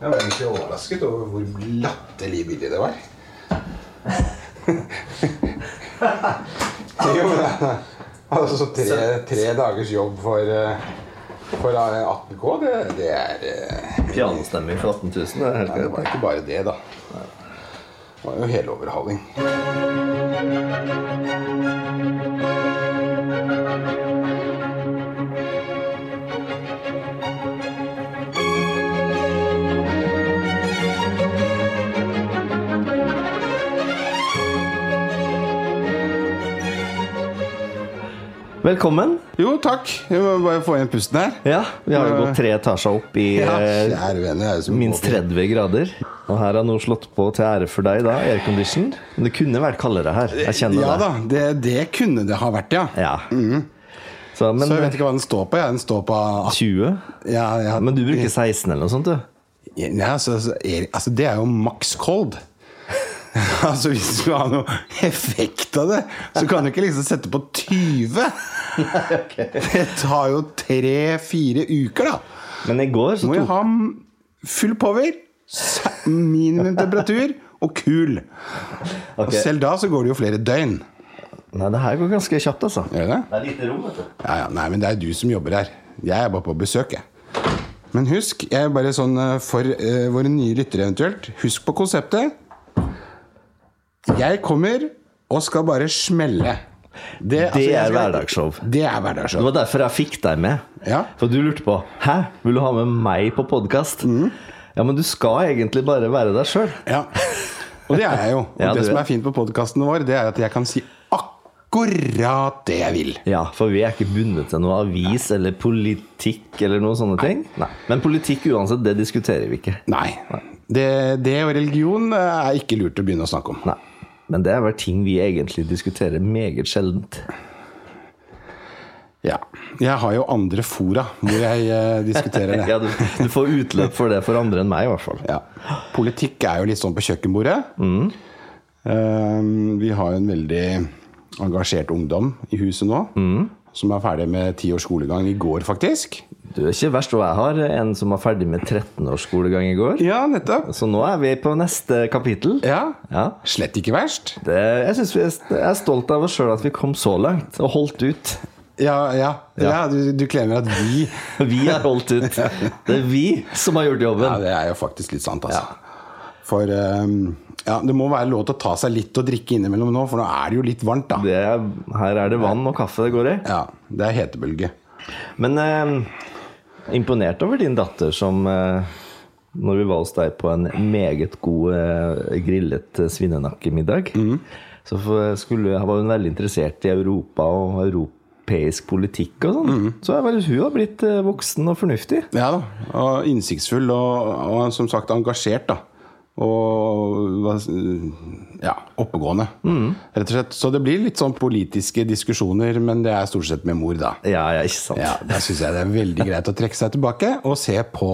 Jeg var egentlig overrasket over hvor latterlig billig det var. jo, men det- altså så tre, tre dagers jobb for, eh, for eh, 18K, det, det er eh, Pianostemming for 18 000. Det er Nei, det helt greit. var ikke bare det, da. Det var jo heloverhaling. Velkommen. Jo, takk. Jeg må bare få igjen pusten her. Ja, Vi har jo gått tre etasjer opp i eh, Kjære venner, jeg er som minst 30 grader. Og her har nå slått på til ære for deg, da, aircondition. Men det kunne vært kaldere her. Jeg kjenner Ja det. da, det, det kunne det ha vært, ja. Ja. Mm. Så, men Så jeg vet ikke hva den står på. Ja. Den står på 20? ja, ja. Men du bruker 16 eller noe sånt, du? Nei, altså, altså, er, altså, det er jo maks cold. altså Hvis du skal ha noe effekt av det, så kan du ikke liksom sette på 20. Det tar jo tre-fire uker, da. Men i går så Må jo tok ha m- full power, se- minimum temperatur og kul. Og Ok. selv da så går det jo flere døgn. Nei, det her går ganske kjapt, altså. Gjør det? Det er lite rom, vet du. Ja, ja, nei, men det er du som jobber her. Jeg er bare på besøk, jeg. Men husk, jeg er bare sånn eh, for eh, våre nye lyttere eventuelt, husk på konseptet. Jeg kommer og skal bare smelle. Det, altså, jeg er skal- hverdagsshow. Det er Det hverdagsshow. var derfor jeg fikk deg med. Ja. For du lurte på Hæ, vil du ha med meg på podkast? Ja, men du skal egentlig bare være deg sjøl. ja. Og det er jeg jo. Og Ja, det du som er. er fint på podkasten vår, det er at jeg kan si akkurat det jeg vil. Ja, for vi er ikke bundet til noe avis eller politikk eller noen sånne ting. Nei. Men politikk uansett, det diskuterer vi ikke. Nei. Det, det og religion eh, er ikke lurt å begynne å snakke om. Nei. Men det er vel ting vi egentlig diskuterer meget sjeldent. Ja. Jeg har jo andre fora hvor jeg eh, diskuterer det. Ja, du, du får utløp for det for andre enn meg, i hvert fall. Ja. Politikk er jo litt sånn på kjøkkenbordet. Mm. Eh, vi har jo en veldig engasjert ungdom i huset nå. Mm. Som er ferdig med ti års skolegang i går, faktisk. Du er ikke verst, og jeg har en som var ferdig med 13 års skolegang i går. Ja, nettopp. Så nå er vi på neste kapittel. Ja. Ja. Slett ikke verst. Det, jeg, synes vi er, jeg er stolt av oss sjøl at vi kom så langt og holdt ut. Ja, ja. ja. du, du klemmer at vi Vi har holdt ut. Det er vi som har gjort Ja, jobben. det er jo faktisk litt sant, altså. For eh, ja, det må være lov til å ta seg litt å drikke innimellom nå, for nå er det jo litt varmt, da. Det er, her er det vann og kaffe det går i. Ja, Det er hetebølge. Men eh, imponert over din datter som eh, når vi var hos deg på en meget god eh, grillet eh, svinenakkemiddag, så for- skulle, var hun veldig interessert i Europa og europeisk politikk og sånn. Så jeg bare, hun har blitt eh, voksen og fornuftig. Ja da, og innsiktsfull og, og som sagt engasjert da Og hva- ja, oppegående Mm. Rett og slett, så det blir litt sånn politiske diskusjoner Men det er stort sett med mor da Ja, ja, ikke sant? Ja, da synes jeg det er veldig greit å trekke seg tilbake Og se på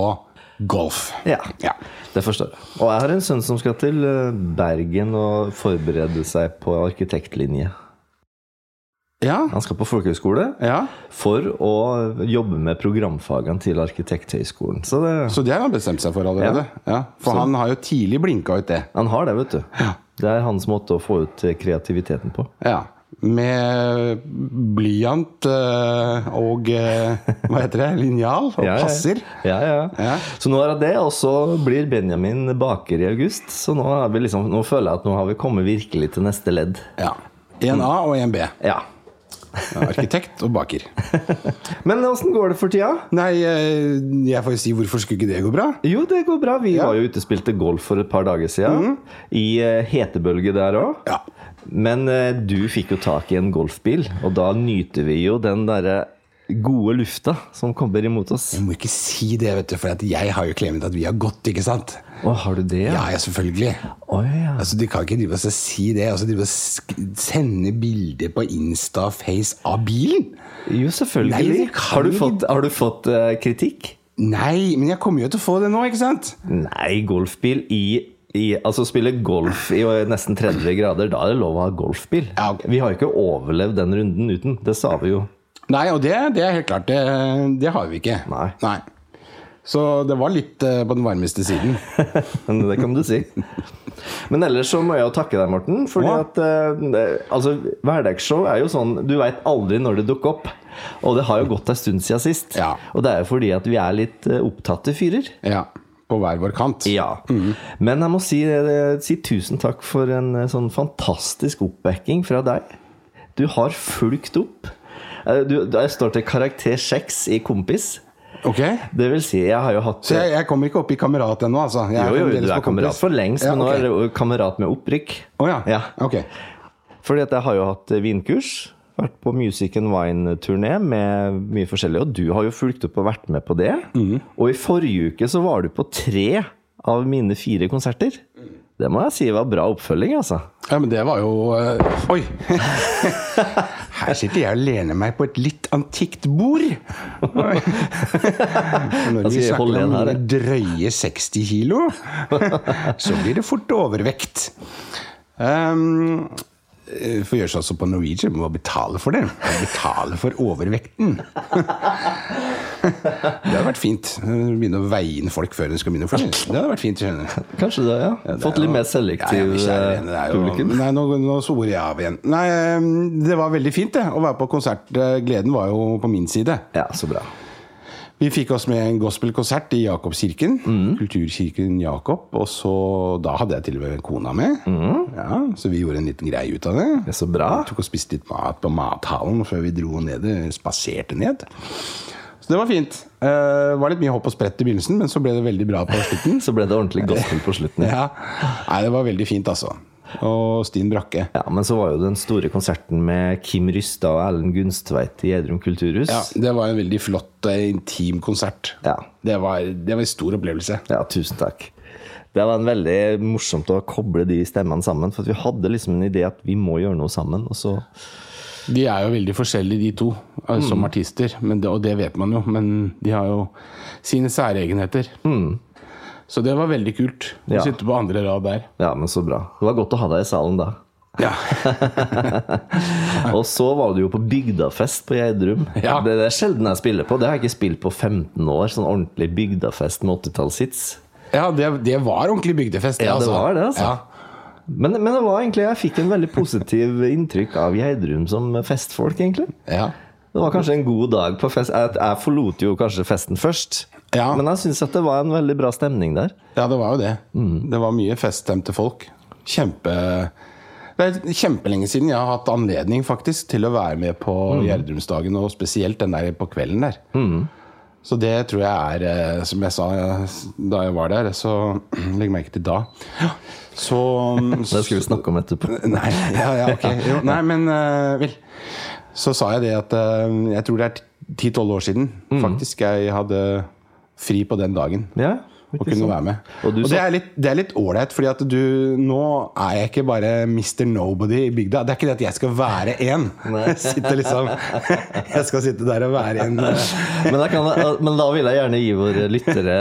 golf Ja. Ja, Det forstår jeg. Og jeg har en sønn som skal til eh, Bergen og forberede seg på arkitektlinje. ja, Han skal på folkehøyskole ja. for å jobbe med programfagene til Arkitekthøgskolen. Så det, Så det har han bestemt seg for allerede ja. For han har jo tidlig blinket ut det han har det, vet du. Det er hans måte å få ut eh, kreativiteten på. Ja med blyant øh, og øh, hva heter det, linjal og Ja, ja. passer Ja, ja. Ja. Så nå er det det, og så blir Benjamin baker i august. Så nå, er vi liksom, nå føler jeg at nå har vi kommet virkelig til neste ledd. Ja. En A og en B. Ja. Arkitekt og baker. Men åssen går det for tida? Nei, eh, jeg får jo si hvorfor skulle ikke det gå bra? Jo, det går bra. Vi var jo ute og spilte golf for et par dager siden. I eh, hetebølge der òg. Mhm. Ja. Men eh, du fikk jo tak i en golfbil, og da nyter vi jo den derre gode lufta som kommer imot oss. Jeg må ikke si det, vet du, for at jeg har jo klemet at vi har gått, ikke sant? Å, har du det? Ja, ja, selvfølgelig. Å, ja. Altså, De kan ikke drive og så si det. Altså, drive og sk- Sende bilder på Insta og Face av bilen! Jo, Nei, selvfølgelig. det kan har du ikke- fått, har du fått eh, kritikk? Nei, men jeg kommer jo til å få det nå, ikke sant? Nei, golfbil i, i Altså spille golf i eh, nesten 30 grader, da er det lov å ha golfbil. Ja, ok. Vi har jo ikke overlevd den runden uten. Det sa vi jo. Nei, og det, det er helt klart. Det, det har vi ikke. Nei. Så det var litt eh, på den varmeste siden. Men det kan du si. Men ellers så må jeg jo takke deg, Morten. Fordi Ja. at eh, det- altså, hverdagsshow er jo sånn Du veit aldri når det dukker opp. Og det har jo gått ei stund siden sist. Ja. Og det er jo fordi at vi er litt eh, opptatte fyrer. Ja, På hver vår kant. Ja. Mhm. Men jeg må si, eh, si tusen takk for en eh, sånn fantastisk oppbacking fra deg. Du har fulgt opp. Eh, Du, du- jeg står til karakter seks i Kompis. Ok? Det vil si, jeg har jo hatt eh, Så jeg, jeg kommer ikke opp i kamerat ennå, altså? Jeg Jo, jo, fremdeles du er på kompis. kamerat for lengst, Ja, men nå ok. er det jo kamerat med opprykk. Å ja. Ja. Ok. Fordi at jeg har jo hatt eh, vinkurs. Vært på Music and Wine-turné med mye forskjellig. Og du har jo fulgt opp og vært med på det. Og i forrige uke så var du på tre av mine fire konserter. Det må jeg si var bra oppfølging, altså. Ja, men det var jo eh, Oi! Her sitter jeg og lener meg på et litt antikt bord. Oi. Når skal vi jeg snakker om holde igjen her, mine drøye 60 kilo, så blir det fort overvekt. Um, eh, for å gjøre sånn som på Norwegian, må betale for det. Må Betale for overvekten. Det hadde vært fint. Begynne å veie inn folk før de skal begynne å forsyne. Det hadde vært fint. skjønner du. Kanskje det, ja. Det Fått er litt jo- Ja, mer selektiv ja, kjære vene, det eh, er jo- publikum. Nei, nå, nå svorer jeg av igjen. Nei, ehm, det var veldig fint det, å være på konsert. Eh, Gleden var jo på min side. Ja, så bra. Vi fikk oss med en gospelkonsert i Jakobskirken. Kulturkirken Jakob. Og så, da hadde jeg til og med kona med. Ja, så vi gjorde en liten greie ut av det. Det er så bra. Vi tok og spiste litt mat på mathallen før vi dro ned, eh, spaserte ned. Så det var fint. Eh, var litt mye hopp og sprett i begynnelsen, men så ble det veldig bra på slutten. Så ble det ordentlig gospel på slutten. Ja. Nei, det var veldig fint, altså. Og Stin Brakke. Ja, Men så var jo den store konserten med Kim Rystad og Erlend Gunstveit i Gjerdrum kulturhus. Ja, det var en veldig flott eh, intim konsert. Ja. Det, var, det var en stor opplevelse. Ja, tusen takk. Det var en veldig morsomt å koble de stemmene sammen. For at vi hadde liksom en idé at vi må gjøre noe sammen. Og så De er jo veldig forskjellige, de to, eh, Mm. som artister. Men det, og det vet man jo. Men de har jo sine særegenheter. Så det var veldig kult å Mm. Ja. sitte på andre rad der. Ja, men så bra. Det var godt å ha deg i salen da. Ja. Og så var du jo på bygdafest på Gjerdrum. Ja. Det, det er sjelden jeg spiller på. Det har jeg ikke spilt på 15 år. Sånn ordentlig bygdafest med 80-tallshits. det, det var ordentlig bygdefest. Ja, det altså. var det, altså. Ja. Men, men det var egentlig, jeg fikk en veldig positiv inntrykk av Gjerdrum som festfolk, egentlig. Ja. Det var kanskje en god dag på fest. Jeg, jeg forlot jo kanskje festen først. Ja. Men jeg syns at det var en veldig bra stemning der. Ja, det var jo det. Det var mye feststemte folk. Kjempe Det er kjempelenge siden jeg har hatt anledning faktisk til å være med på Gjerdrumsdagen, og spesielt den der på kvelden der. Så det tror jeg er, eh, som jeg sa eh, da jeg var der, så legg merke til da. Så mm, Det skal vi snakke om etterpå. Nei, ja, ja, ok. Jo, nei, men eh, vel. Så sa jeg det at eh, jeg tror det er ti-tolv år siden faktisk jeg hadde fri på den dagen. Ja, Å kunne være med. Og Og, du det sa- er litt- det er litt ålreit, fordi at du Nå er jeg ikke bare Mr. Nobody i bygda. Det er ikke det at jeg skal være én. Sitte liksom Jeg skal sitte der og være en eh, men, jeg kan, men da vil jeg gjerne gi våre lyttere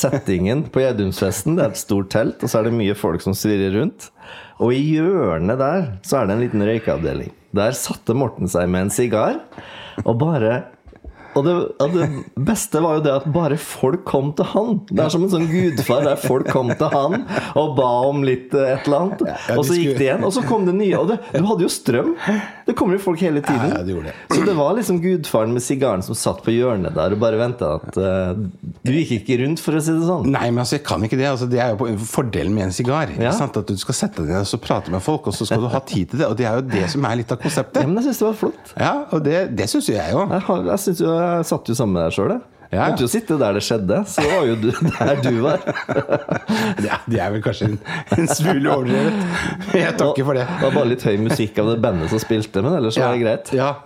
settingen på Gjerdumsfesten. Det er et stort telt, og så er det mye folk som svirrer rundt. Og i hjørnet der så er det en liten røykeavdeling. Der satte Morten seg med en sigar, og bare og det, og det beste var jo det at bare folk kom til han. Det er som en sånn gudfar der folk kom til han og ba om litt eh, et eller annet. ja, Og så de gikk det igjen, og så kom det nye. Og det, du hadde jo strøm! Det kommer jo folk hele tiden. Ja, ja, det gjorde det. Så det var liksom gudfaren med sigaren som satt på hjørnet der og bare venta at eh, Du gikk ikke rundt, for å si det sånn. Nei, men altså, jeg kan ikke det. Altså, det er jo på, fordelen med en sigar. ikke Ja. sant? At du skal sette deg ned og så prate med folk, og så skal du ha tid til det. Og det er jo det som er litt av Ja, konseptet. men jeg syns det var flott. Ja, Og det, det syns jeg jo. Jeg, har, jeg, synes jo, jeg satt jo sammen med deg sjøl, jeg. Ja, ja. Måtte jo sitte der det skjedde. Så var jo du der du var. Ja, det er vel kanskje en, en smule overdrevet. Men Jeg Og- takker for det. Det var bare litt høy musikk av det bandet som spilte, men ellers var det greit. Ja,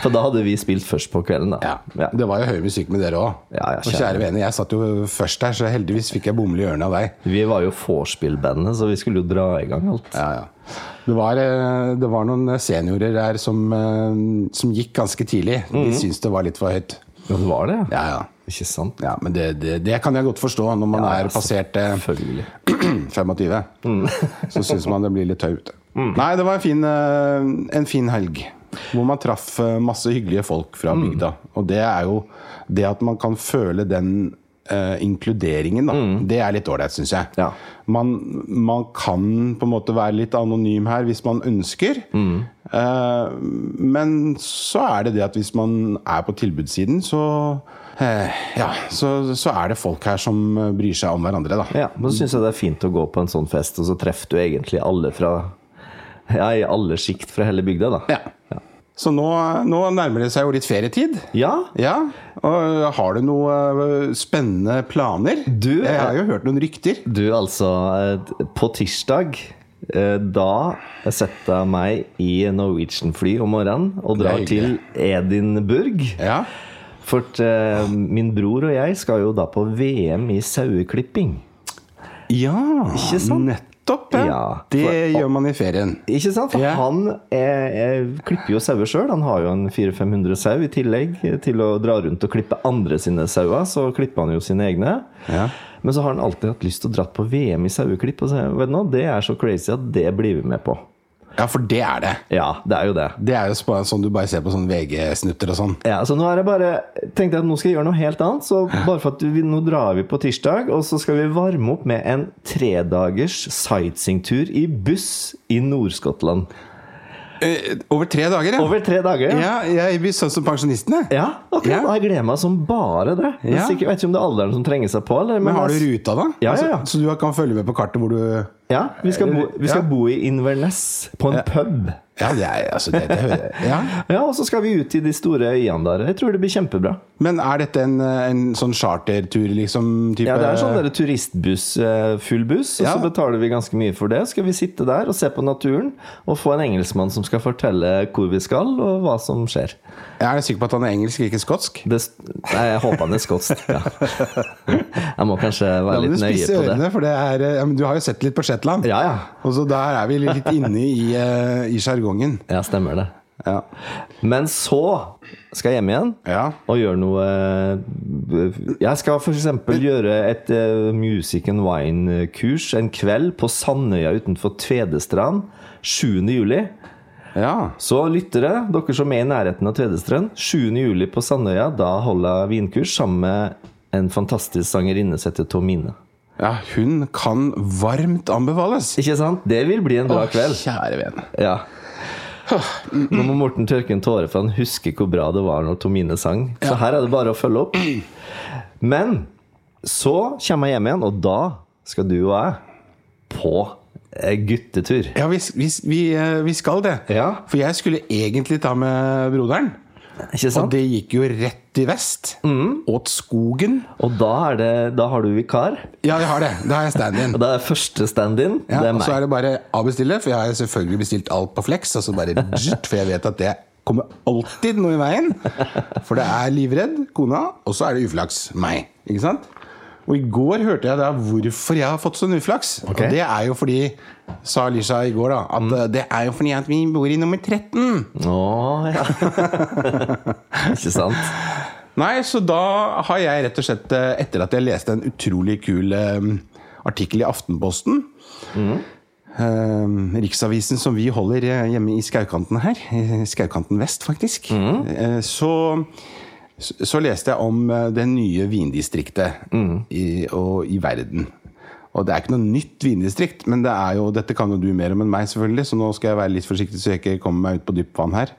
For da hadde vi spilt først på kvelden, da. Ja. Det var jo høy musikk med dere òg. Ja, ja, og kjære. kjære vene, jeg satt jo først her, så heldigvis fikk jeg bomull i ørene av deg. Vi var jo vorspielbandet, så vi skulle jo dra i gang alt. Ja, ja. Det, var, eh, det var noen seniorer her som, eh, som gikk ganske tidlig. De syntes det var litt for høyt. Ja, det var det, Mhm. ja. Ja, ja. Ikke sant? ja men det, det, det kan jeg godt forstå når man er passert eh, Selvfølgelig. 25. Mm. Så syns man det blir litt høyt. Nei, det var en fin, eh, en fin helg. Hvor man traff eh, masse hyggelige folk fra Mm. bygda. Og det er jo det at man kan føle den eh, inkluderingen, da. Det er litt ålreit, syns jeg. Mm. Ja. Man, man kan på en måte være litt anonym her hvis man ønsker. Mm. Eh, men så er det det at hvis man er på tilbudssiden, så eh, Ja, så, så er det folk her som eh, bryr seg om hverandre, da. Ja, men så syns jeg det er fint å gå på en sånn fest, og så treffer du egentlig alle fra Ja, i alle sjikt fra hele bygda, da. Ja. Så nå, nå nærmer det seg jo litt ferietid. Ja? Ja, og Har du noen spennende planer? Du- Jeg har jo hørt noen rykter. Du, altså eh, På tirsdag eh, da setter jeg meg i Norwegian-fly om morgenen og drar Det er til hyggelig. Edinburgh. Ja, For eh, min bror og jeg skal jo da på VM i saueklipping. Ikke sant? nettopp. Ja. Ja, det for- gjør man i ferien. Ikke sant? For Ja. han er, er, klipper jo sauer sjøl. Han har jo en 400-500 sau i tillegg til å dra rundt og klippe andre sine sauer. Så klipper han jo sine egne. Ja. Men så har han alltid hatt lyst til å dra på VM i saueklipp. Og så, er jeg, vet du, nå, det er så crazy at det blir vi med på. Ja, for det er det. Ja, det er jo det. Det er jo sp- sånn du bare ser på sånne VG-snutter og sånn. Ja, så nå er det bare tenkte jeg at nå skal jeg gjøre noe helt annet. Så bare for at vi, Nå drar vi på tirsdag, og så skal vi varme opp med en tredagers sightseeingtur i buss i Nord-Skottland. Eh, Over tre dager, ja. Over tre dager. Ja, jeg blir sånn som pensjonistene. Ja, akkurat. Ja. Og Jeg gleder meg som bare det. Jeg Ja. sikkert, vet ikke om det er alderen som trenger seg på. Eller, Men har du jeg- ruta, da? Ja, ja, ja. Altså, så du kan følge med på kartet hvor du ja, vi skal, bo, vi skal Ja. bo i Inverness, på en pub. Ja, det er altså det, det hører jeg. Ja. Ja, Og så skal vi ut i de store øyene der. Jeg tror det blir kjempebra. Men er dette en, en sånn chartertur, liksom? Type, Ja, Det er sånn der turistbuss, eh, full buss, og Ja. så betaler vi ganske mye for det. Skal vi sitte der og se på naturen og få en engelskmann som skal fortelle hvor vi skal, og hva som skjer. Jeg er sikker på at han er engelsk, ikke skotsk. Det, nei, jeg håper han er skotsk. Ja. Jeg må kanskje Da være må litt du nøye spisse på det. ørene, for det er eh, ja, men Du har jo sett litt på Shetland. Ja, ja. Og så der er vi litt inne i, eh, i sjargongen. Ja, stemmer det. Ja. Men så skal jeg hjem igjen ja. og gjøre noe Jeg skal f.eks. gjøre et eh, Music and Wine-kurs en kveld på Sandøya utenfor Tvedestrand 7. juli. Ja. Så lyttere, dere som er i nærheten av Tvedestrand, 7. juli på Sandøya, da holder jeg vinkurs sammen med en fantastisk sangerinne som heter Tomine. ja hun kan varmt anbefales. Ikke sant? Det vil bli en bra kveld. Kjære venn. Ja. Nå må Morten tørke en tåre, for han husker hvor bra det var når Tomine sang. Så her er det bare å følge opp. Men så kommer jeg hjem igjen, og da skal du og jeg på eh, guttetur. Ja, vi, vi, vi, eh, vi skal det. Ja. For jeg skulle egentlig ta med broderen. Og Ikke sant? det gikk jo rett i vest. Mm. Åt skogen. Og da, er det, da har du vikar. Ja, jeg har det. Da har jeg stand-in. Og da er første stand-in. Ja, det er og så meg. er det bare avbestille, for jeg har selvfølgelig bestilt alt på Flex. Og så bare dzzzt, For jeg vet at det kommer alltid noe i veien. For det er livredd kona, og så er det uflaks meg. Ikke sant? Og i går hørte jeg da hvorfor jeg har fått sånn uflaks. Ok. Mm. Og det er jo fordi, sa Lisha i går, da, at eh, det er jo fordi at vi bor i nummer 13. Å, ja. Ikke sant? Nei, så da har jeg rett og slett, eh, etter at jeg leste en utrolig kul eh, artikkel i Aftenposten eh, Riksavisen som vi holder eh, hjemme i skaukanten her, i skaukanten vest faktisk, eh, så, så leste jeg om eh, det nye vindistriktet i, og, i verden. Og det er ikke noe nytt vindistrikt, men det er jo, dette kan jo du mer om enn meg, selvfølgelig, så nå skal jeg være litt forsiktig så jeg ikke kommer meg ut på dypt vann her.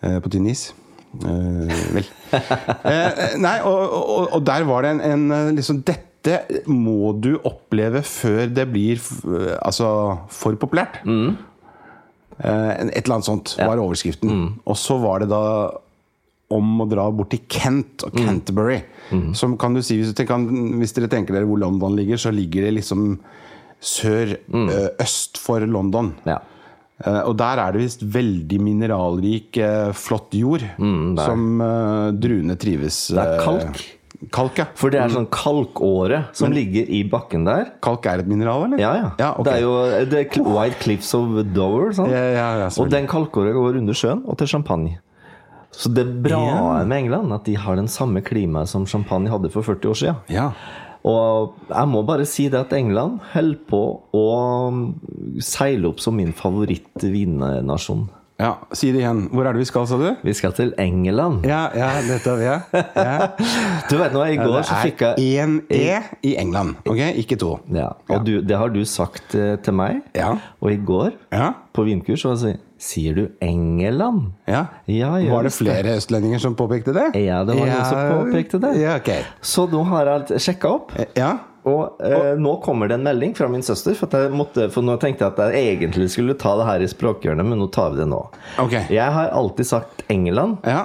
Eh, på tynn is. Eh, vel. Eh, nei, og, og, og der var det en, en eh, liksom Dette må du oppleve før det blir f- eh, altså, for populært. Eh, et eller annet sånt var overskriften. Og så var det da om å dra bort til Kent og Canterbury. Som kan du si, hvis, du tenker, hvis dere tenker dere hvor London ligger, så ligger det liksom sør-øst for London. Ja. Eh, og der er det visst veldig mineralrik, eh, flott jord som eh, druene trives Det Mm, er kalk. kalk, ja. For det er sånn kalkåre som ligger i bakken der. Kalk er et mineral, eller? Ja, ja. ja ok. Det er jo det er Cl- White Cliffs of Dover. Sant? Ja, ja, ja, og den kalkåra går under sjøen og til champagne. Så det bra med England at de har den samme klimaet som champagne hadde for 40 år siden. ja. Og jeg må bare si det at England mm, holder på å seile opp som min favorittvinnasjon. Ja, Si det igjen. Hvor er det vi skal, sa du? Vi skal til England. Ja, ja, dette vet jeg. Ja. Du vet nå, i går Det så fikk er jeg én E i England, ok? Ikke to. ja, Og du, det har du sagt eh, til meg. Ja. Og i går, Ja, på vinkurs, så sier Sier du England? ja. Ja, jeg Var det visste flere østlendinger som påpekte det? Ja, det var noen som påpekte det. Ja, ok. Så nå har jeg sjekka opp, Ja, og eh, nå kommer det en melding fra min søster. For, at jeg måtte, for nå tenkte jeg at jeg egentlig skulle ta det her i språkhjørnet, men nå tar vi det nå. ok. Jeg har alltid sagt England, Ja,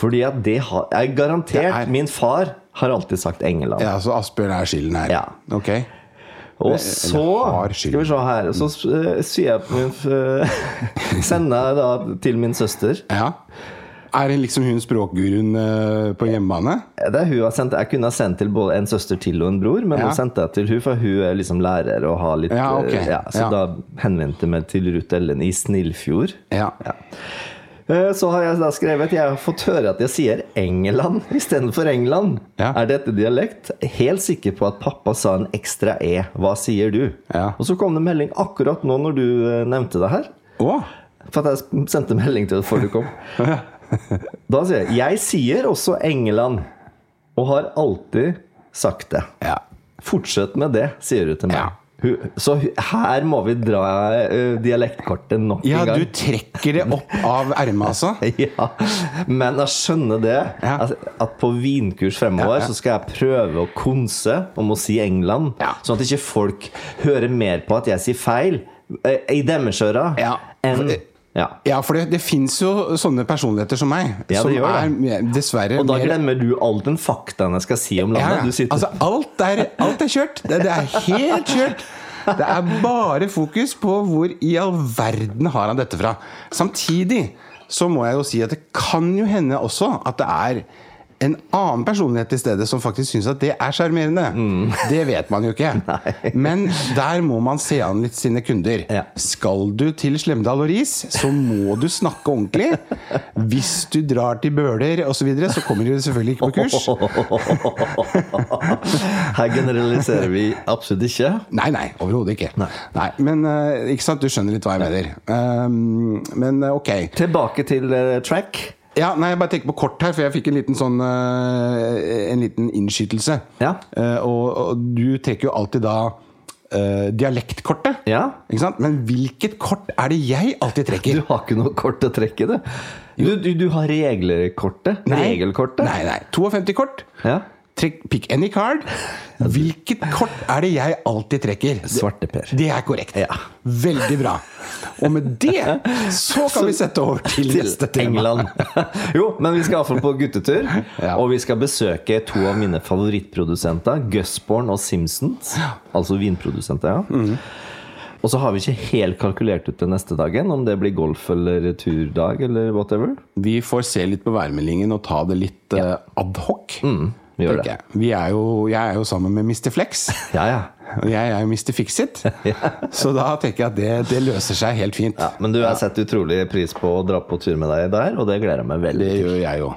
fordi at det har Jeg garantert Det er- min far har alltid sagt England. ja så Asbjørn er skylden her. Ja. Ok. Og så har Skal vi se her. Så eh, sier jeg på min Mm. f- Sender jeg da til min søster. Ja. Er det liksom hun språkguruen eh, på hjemmebane? Det er hun jeg har sendt Jeg kunne ha sendt til både en søster til og en bror, men Ja. nå sendte jeg til hun, for hun er liksom lærer og har litt Ja, ok. eh, ja, Så Ja. da henvendte jeg meg til Ruth Ellen i Snillfjord. Ja. Eh, Så har jeg da skrevet Jeg har fått høre at jeg sier England istedenfor England. Ja. Er dette dialekt? Helt sikker på at pappa sa en ekstra E. Hva sier du? Ja. Og så kom det en melding akkurat nå når du eh, nevnte det her. Å? For at jeg sendte melding til deg før du kom. Da sier jeg Jeg sier også England, og har alltid sagt det. Ja. Fortsett med det, sier du til meg. Ja. Hun- Så hu- her må vi dra eh, dialektkortet nok Ja, en gang. du trekker det opp av ermet, altså? Ja, men jeg skjønner det. Ja. At, at på vinkurs fremover Ja, ja. så skal jeg prøve å konse om å si England. Ja. Sånn at ikke folk hører mer på at jeg sier feil eh, i deres ører Ja. enn ja. Ja, for det, det fins jo sånne personligheter som meg. Ja, det som gjør det. er mer- dessverre Og da mer- glemmer du all den faktaen jeg skal si om Ja, landet. ja. Du sitter altså, alt, er, alt er kjørt. Det, det er helt kjørt. Det er bare fokus på hvor i all verden har han dette fra. Samtidig så må jeg jo si at det kan jo hende også at det er en annen personlighet til stede som faktisk syns at det er sjarmerende. Mm. Det vet man jo ikke. Men der må man se an litt sine kunder. Ja. Skal du til Slemdal og Ris, så må du snakke ordentlig. Hvis du drar til Bøler osv., så, videre, så kommer du selvfølgelig ikke på kurs. Her generaliserer vi absolutt ikke. Nei, nei, overhodet ikke. Nei. men eh, ikke sant, du skjønner litt hva jeg mener. Um, men eh, ok. Tilbake til eh, track. Ja, nei, Jeg bare tenker på kort her, for jeg fikk en liten sånn eh, En liten innskytelse. Ja. Eh, og, og du trekker jo alltid da eh, dialektkortet. Ja. Ikke sant? Men hvilket kort er det jeg alltid Du trekker? har ikke noe kort å trekke, du. Du, du, du har reglerkortet. Regelkortet. Nei, nei. 52-kort. Ja. Trekk, pick any card. Hvilket kort er det jeg alltid trekker? Svarteper. Det er korrekt. Ja. Veldig bra. Og med det så kan vi sette over til neste Til tema. England. Jo, men vi skal iallfall på guttetur. Ja. Og vi skal besøke to av mine favorittprodusenter, Gusborn og Simpsons. Altså vinprodusenter, ja. Mm. Og så har vi ikke helt kalkulert ut den neste dagen, om det blir golf eller turdag eller whatever. Vi får se litt på værmeldingen og ta det litt eh, ad hoc. Vi Mm, gjør tenker det. jeg. Vi er jo, jeg er jo sammen med Mr. Flex, Ja, ja. og jeg er jo Mr. Fixit. Så da tenker jeg at det, det løser seg helt fint. ja. Men du, jeg setter utrolig pris på å dra på tur med deg der, og det gleder jeg meg veldig Det gjør jeg jo.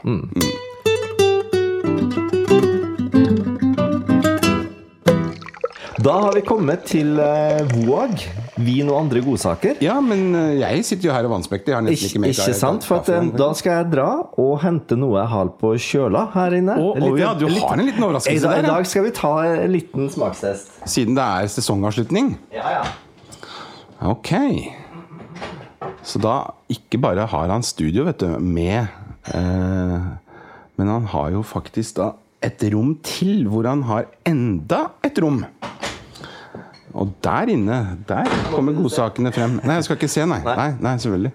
Da har vi kommet til eh, Voag. Vin og andre godsaker. Ja, men eh, jeg sitter jo her og vannspekter. Jeg har nesten Ikke, ikke mer ikke sant? For at, eh, da skal jeg dra og hente noe jeg har på kjøla her inne. Å, å, ja, du har en liten I overraskelse dag, der, I ja. dag skal vi ta en liten smakstest. Siden det er sesongavslutning. Ja, ja. Ok. Så da ikke bare har han studio, vet du, med eh, Men han har jo faktisk da et rom til, hvor han har enda et rom. Og der inne, der kommer godsakene frem. Nei, jeg skal ikke se, nei. Nei, nei selvfølgelig.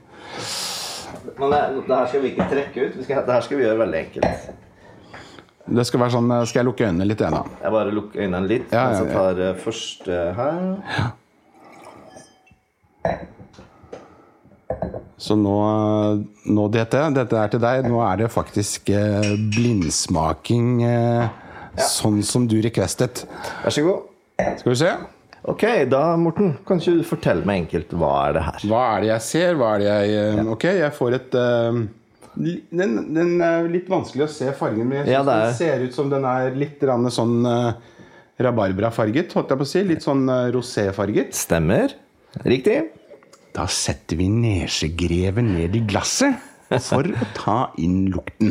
Men det, det her skal vi ikke trekke ut. Vi skal, det her skal vi gjøre veldig enkelt. Det skal være sånn eh, Skal jeg lukke øynene litt, jeg, da? Jeg bare lukker øynene litt, Ja, mens ja, jeg ja. tar eh, første her. Så nå, eh, nå DT, dette er til deg. Nå er det faktisk eh, blindsmaking eh, sånn som du requestet. Vær så god. Skal vi se. Ok, da, Morten, kan ikke du fortelle meg enkelt hva er det her? Hva er det jeg ser? Hva er det jeg eh, Ok, jeg får et eh, li- den, den er litt vanskelig å se fargen, men jeg Ja, synes det er- den ser ut som den er litt grann sånn eh, rabarbrafarget, holdt jeg på å si. Litt sånn eh, roséfarget. Stemmer. Riktig. Da setter vi nesjegrevet ned i glasset for å ta inn lukten.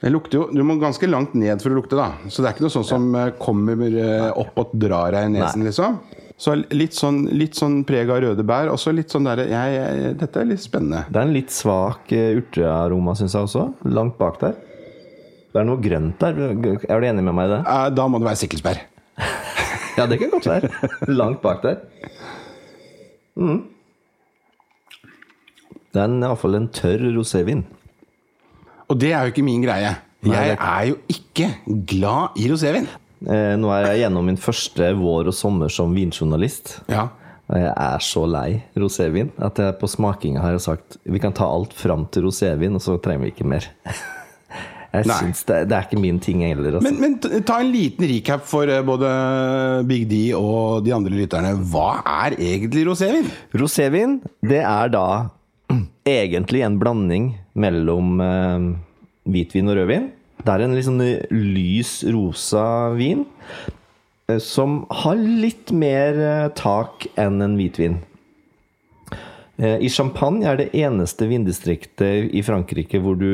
Det lukter jo, Du må ganske langt ned for å lukte, da. Så det er ikke noe sånt som eh, kommer eh, opp og drar deg i nesen, liksom. Så litt sånn, litt sånn preg av røde bær, og så litt sånn derre jeg- jeg- Dette er litt spennende. Det er en litt svak eh, urtearoma, syns jeg også. Langt bak der. Det er noe grønt der. Er du enig med meg i det? Eh, Da må det være sikkelsbær. Ja, det kan godt være. Langt bak der. Mm. Det er iallfall en tørr rosévin. Og det er jo ikke min greie. Jeg det er jo ikke glad i rosévin. Eh, nå er jeg gjennom min første vår og sommer som vinjournalist. Ja. Og jeg er så lei rosévin at jeg på smakinga har jeg sagt vi kan ta alt fram til rosévin, og så trenger vi ikke mer. Jeg Nei. synes det, det er ikke min ting heller. Altså. Men, men t- ta en liten recap for eh, både Big D og de andre lytterne. Hva er egentlig rosévin? Rosévin, det er da egentlig en blanding mellom eh, hvitvin og rødvin. Det er en litt sånn lys rosa vin eh, som har litt mer eh, tak enn en hvitvin. Eh, I Champagne er det eneste vindistriktet i Frankrike hvor du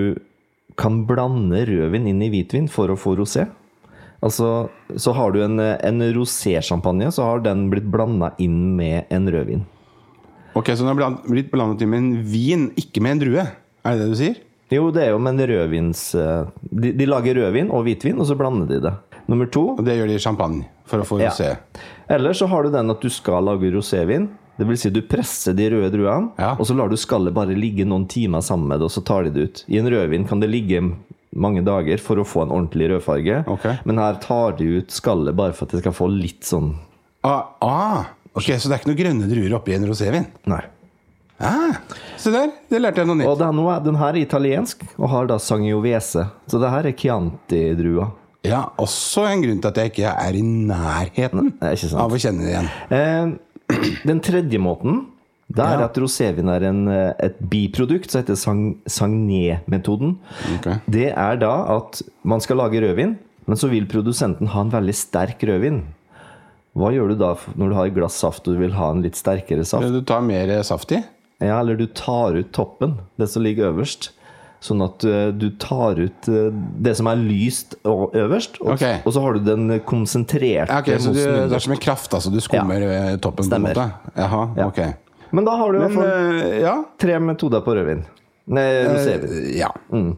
kan blande rødvin inn i hvitvin for å få rosé. Altså, så har du en, eh, en rosé-champagne, så har den blitt blanda inn med en rødvin. Ok, Så den har bland- blitt blandet inn med en vin, ikke med en drue. Er det det du sier? Jo, det er jo med en rødvins eh, de, de lager rødvin og hvitvin, og så blander de det. Nummer to Og det gjør de i champagne for å få ja. rosé. Eller så har du den at du skal lage rosévin. Det vil si du presser de røde druene, Ja. og så lar du skallet bare ligge noen timer sammen med det, og så tar de det ut. I en rødvin kan det ligge mange dager for å få en ordentlig rødfarge, Ok. men her tar de ut skallet bare for at det skal få litt sånn Ah, ah, ok, Så det er ikke noen grønne druer oppi en rosévin? Nei. Ah, se der, det lærte jeg noe nytt. Og den, den her er italiensk, og har da sangiovese. Så det her er Chianti-drua. Ja, Også en grunn til at jeg ikke er i nærheten Det er ikke sant. av å kjenne det igjen. Eh, den tredje måten det er Ja. at rosévin er en, eh, et biprodukt som heter sang, Sagné-metoden. Ok. Det er da at man skal lage rødvin, men så vil produsenten ha en veldig sterk rødvin. Hva gjør du da f- når du har et glass saft og du vil ha en litt sterkere saft? Du tar mer eh, saft i? Ja, Eller du tar ut toppen, det som ligger øverst. Sånn at eh, du tar ut eh, det som er lyst og øverst, og, Ok. og så har du den konsentrerte Ja, ok, så du, mosen under. det er som en kraft, altså. Du skummer eh, toppen Stemmer. på en måte? Jaha, ok. Men da har du i hvert Men, fall eh, ja. Tre metoder på rødvin. Nei, rosévin. Eh, ja. Mm.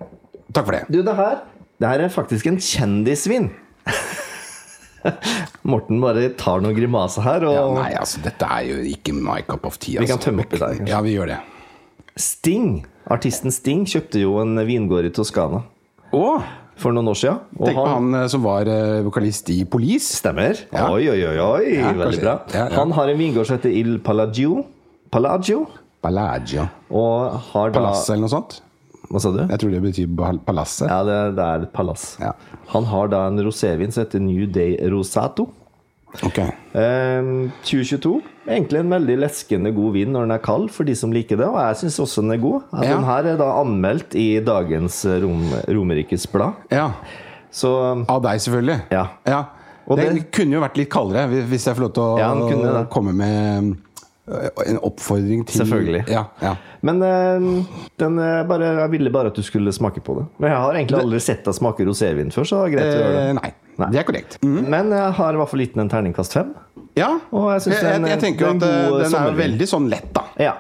Takk for det. Du, det her Det her er faktisk en kjendisvin. Morten bare tar noen grimaser her. Og Ja, nei, altså, dette er jo ikke my cup of tea. Vi kan altså. tømme opp i dag, kanskje. Ja, vi gjør det. Sting, artisten Sting, kjøpte jo en vingård i Toskana Å! for noen år siden. Og Tenk på han eh, som var eh, vokalist i Police. Stemmer. Ja. Oi, oi, oi. oi kanskje. Veldig bra. Ja, ja. Han har en vingård som heter Il Palagio. Palagio. Balagia. Og har da Palasset eller noe sånt. Hva sa du? Jeg tror det betyr bal- palasset. Ja, det, det er et palass. Ja. Han har da en rosévin som heter New Day Rosato. Ok. Ehm, 2022. Egentlig en veldig leskende god vin når den er kald, for de som liker det. Og jeg syns også den er god. At Ja. Den her er da anmeldt i dagens eh, Rom, Romerikes Blad. Ja. Så Av deg, selvfølgelig. ja. Ja. Og det, det- kunne jo vært litt kaldere, hvis- hvis jeg får lov til å Ja, den kunne det. komme med eh, en oppfordring til Selvfølgelig. Ja, ja. Men ehm, den eh, bare, jeg ville bare at du skulle smake på det. Men jeg har egentlig aldri sett deg smake rosévin før, så det er greit å gjøre det. Eh, nei. Det er korrekt. Mm. Men jeg har i hvert fall gitt den en terningkast fem. Ja. Og jeg jeg, synes det er en- jeg, jeg tenker jo at det er en eh, god den er jo sommervin. veldig sånn lett, da. Ja.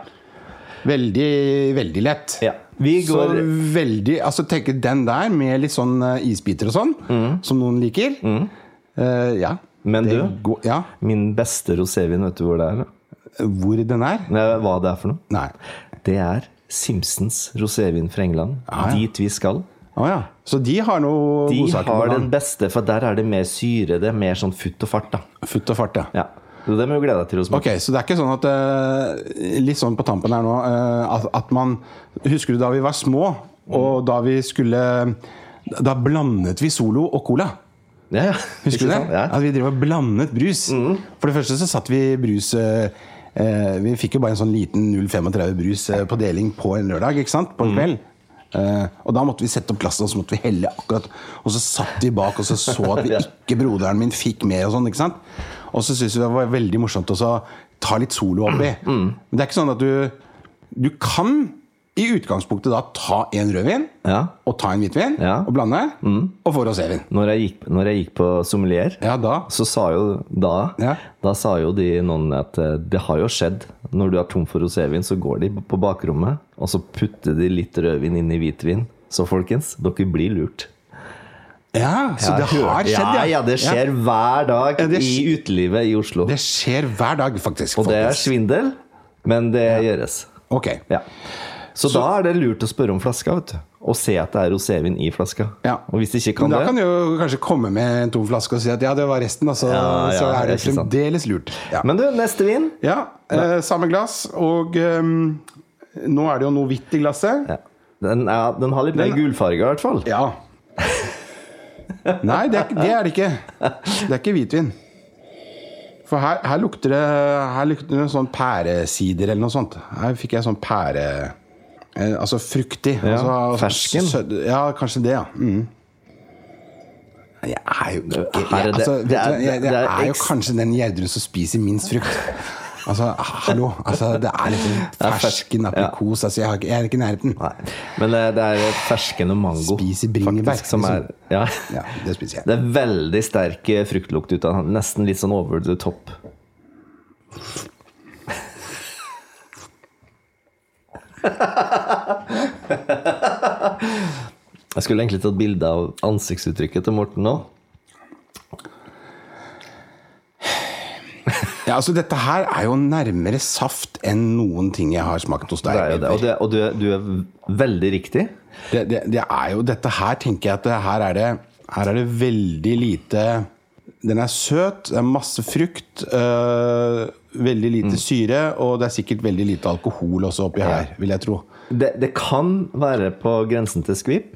Veldig, veldig lett. ja. Vi Så går veldig Altså tenke den der med litt sånn eh, isbiter og sånn, som noen liker. Eh, ja. Mm. Men Det du? går- ja. Min beste rosévin, vet du hvor det er? da? Hvor den er? Nei, Hva det er for noe? Nei. Det er Simpsons rosévin fra England. Ah, ja. Dit vi skal. Å ja. Så de har noe De godsaker på har den gang. beste, for der er det mer syre. Det er mer sånn futt og fart, da. Futt og fart, ja. Ja. Så det må du glede deg til å smake. Ok, Så det er ikke sånn at eh, Litt sånn på tampen her nå eh, at, at man Husker du da vi var små, Mm. og da vi skulle Da blandet vi Solo og Cola. Ja, ja. Husker du Ikke det? sant? Ja. Mm. At vi drev og blandet brus. For det første så satt vi i brus eh, Mm. eh, Vi fikk jo bare en sånn liten 0,35 brus eh, på deling på en lørdag, ikke sant? På en kveld. Eh, og da måtte vi sette opp glasset og så måtte vi helle akkurat Og så satt vi bak og så så at vi ikke broderen min fikk med. Og sånn, ikke sant? Og så syntes vi det var veldig morsomt også å ta litt solo oppi. Mm. Men det er ikke sånn at du Du kan i utgangspunktet da ta en rødvin Ja. og ta en hvitvin Ja. Mm. og blande, og få rosévin. Når jeg gikk, når jeg gikk på sommelier, Ja, da så sa jo da Ja. Da sa jo de noen at eh, det har jo skjedd. Når du er tom for rosévin, så går de på bakrommet, og så putter de litt rødvin inn i hvitvin. Så folkens, dere blir lurt. Ja, så det Jeg har hørte- skjedd, ja. Ja, det skjer hver dag Ja, det i skj- utelivet i Oslo. Det skjer hver dag, faktisk. og det er folkens. svindel, men det gjøres. Ok. Ja. Så, da er det lurt å spørre om flaska, vet du. Og se at det er rosévin i flaska. Ja. Og hvis de ikke Men kan da det kan du jo kanskje komme med en tom flaske og si at ja, det var resten, altså. Ja, ja, så er det ikke sant. fremdeles lurt. Ja, Men du, neste vin ja eh, samme glass, og ehm, nå er det jo noe hvitt i glasset. ja. Den, er, den har litt mer gulfarge, i hvert fall. Ja. Nei, det er, ikke- det er det ikke. Det er ikke hvitvin. For her, her lukter det Her lukter det sånn pæresider eller noe sånt. Her fikk jeg sånn pære... Eh, altså fruktig. Ja, altså, fersken. sød- Ja, kanskje det, ja. Mm. Jeg er jo ikke Her er jeg, det- altså, det vet er- du, jeg, det jeg er er jo ekst- kanskje den gjerderen som spiser minst frukt. Altså, hallo. Altså, det er liksom er fersk- fersken, aprikos altså, jeg, har, ikke- jeg er ikke i nærheten. Nei. Men eh, det, det er fersken og mango Spiser bringebær, faktisk, som er, liksom. ja. Ja, det spiser jeg. Det er veldig sterk eh, fruktlukt ut av den. Nesten litt sånn over the top. Jeg skulle egentlig tatt bilde av ansiktsuttrykket til Morten nå. Ja, altså Dette her er jo nærmere saft enn noen ting jeg har smakt hos deg. Det er jo det. Og, det, og du, er- du er veldig riktig. Det, det, det er jo Dette her tenker jeg at det, her, er det, her er det veldig lite Den er søt, det er masse frukt, øh, veldig lite Mm. syre, og det er sikkert veldig lite alkohol også oppi her, vil jeg tro. Det, det kan være på grensen til skvip,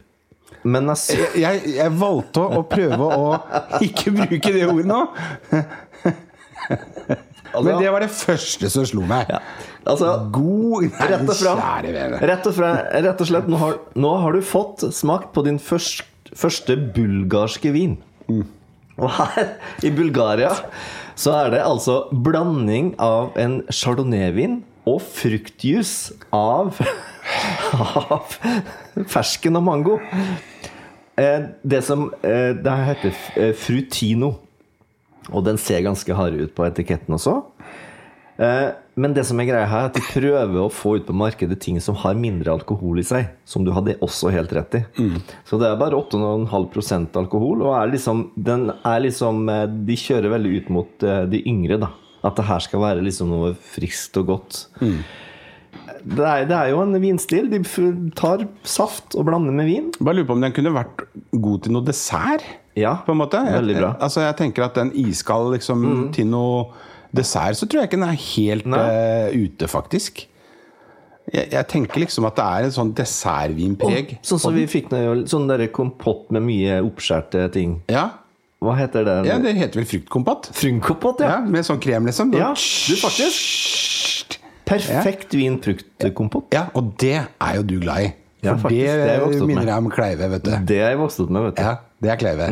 men jeg sy- Jeg, jeg valgte å prøve å ikke bruke det ordet nå, Altså- men det var det første som slo meg. Ja. Altså, God Nei, Rett og, fram, kjære vene. rett, og fram, rett og slett, nå har, nå har du fått smakt på din først, første bulgarske vin. Og her, i Bulgaria, så er det altså blanding av en chardonnay-vin og fruktjuice av, av fersken og mango. Eh, Det som eh, Det her heter eh, frutino. Og den ser ganske hard ut på etiketten også. Eh, Men det som er greia her, er at de prøver å få ut på markedet ting som har mindre alkohol i seg. Som du hadde også helt rett i. Mm. Så det er bare 8,5 alkohol. Og er liksom, den er liksom eh, De kjører veldig ut mot eh, de yngre, da. At det her skal være liksom noe friskt og godt. Mm. Det, er, det er jo en vinstil. De f- tar saft og blander med vin. Bare lurer på om den kunne vært god til noe dessert? Ja, på en måte. Veldig bra. Mm. Jeg, altså, jeg tenker at den iskald liksom, til noe dessert, så tror jeg ikke den er helt Nei. eh, ute, faktisk. Jeg, jeg tenker liksom at det er en sånn dessertvinpreg. Sånn som vi fikk nå, sånn der kompott med mye oppskjærte ting. Ja. Hva heter det? ja, det heter vel fruktkompott? Frynkompott, ja. Ja, med sånn krem, liksom. Ja, du Perfekt vin fruktkompott. Ja, og det er jo du glad i. Ja, For faktisk, det er jeg vokst det opp minner med. jeg om Kleive, vet du. Det er jeg vokst opp med, vet du. Ja, det er Kleive.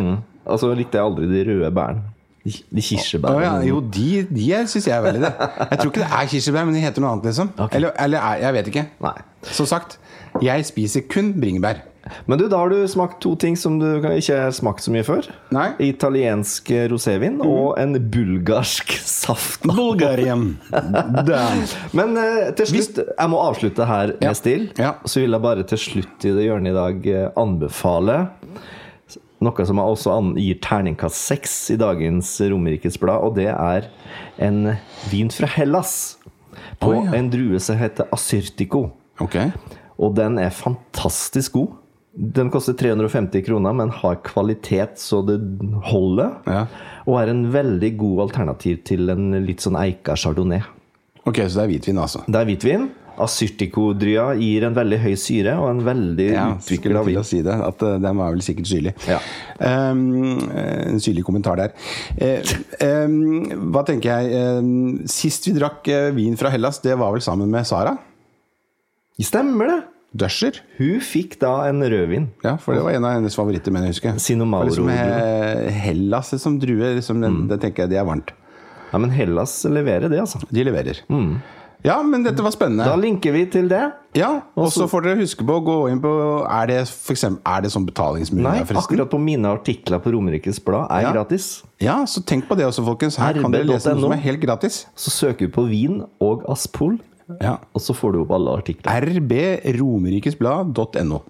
Og så likte jeg aldri de røde bærene. De, Å de ja, kirsebærene. jo, de, de syns jeg er veldig det. Jeg tror ikke det er kirsebær, men de heter noe annet, liksom. Ok. Eller, eller er- jeg vet ikke. Nei. Som sagt, jeg spiser kun bringebær. Men du, da har du smakt to ting som du kan- ikke har smakt så mye før. Nei. Mhm. Italiensk eh, rosévin og en bulgarsk saft. Bulgarien. Men eh, til slutt, jeg må avslutte her Ja. med stil. Ja. Så vil jeg bare til slutt i det hjørnet i dag eh, anbefale noe som jeg også an gir terningkast seks i dagens Romerikes Blad, og det er en vin fra Hellas. På Å, ja. en drue som heter Asyrtiko. Ok. Og den er fantastisk god. Den koster 350 kroner, men har kvalitet så det holder. Ja. Og er en veldig god alternativ til en litt sånn eika chardonnay. ok, så det er hvitvin, altså. Det er hvitvin. Asyrtikodrya gir en veldig høy syre og en veldig Ja, utvikla skulle til vin. å si det. At eh, den var vel sikkert syrlig. Ja. Um, eh, en syrlig kommentar der. Eh, um, hva tenker jeg Ehm, eh, Sist vi drakk eh, vin fra Hellas, det var vel sammen med Sara? Stemmer det! Dusher. Hun fikk da en rødvin. Ja, for det var en av hennes favoritter, mener jeg husker. Sinomauro. For Liksom, he- Hellas som drue, liksom, Mm. den, det tenker jeg de er varmt. Ja, men Hellas leverer det, altså. De leverer. Ja, men dette var Da spennende. linker vi til det. Ja, Og så får dere huske på å gå inn på Er det, for eksempel, er det sånn Nei, betalingsmulighet, forresten? akkurat på mine artikler på Romerikes Blad er Ja. gratis. Ja, så tenk på det også, folkens. Her kan dere lese noe RB.no. som er helt gratis. Så søker du på vin og Aspol, Ja. og så får du opp alle artikler. rbromrikesblad.no.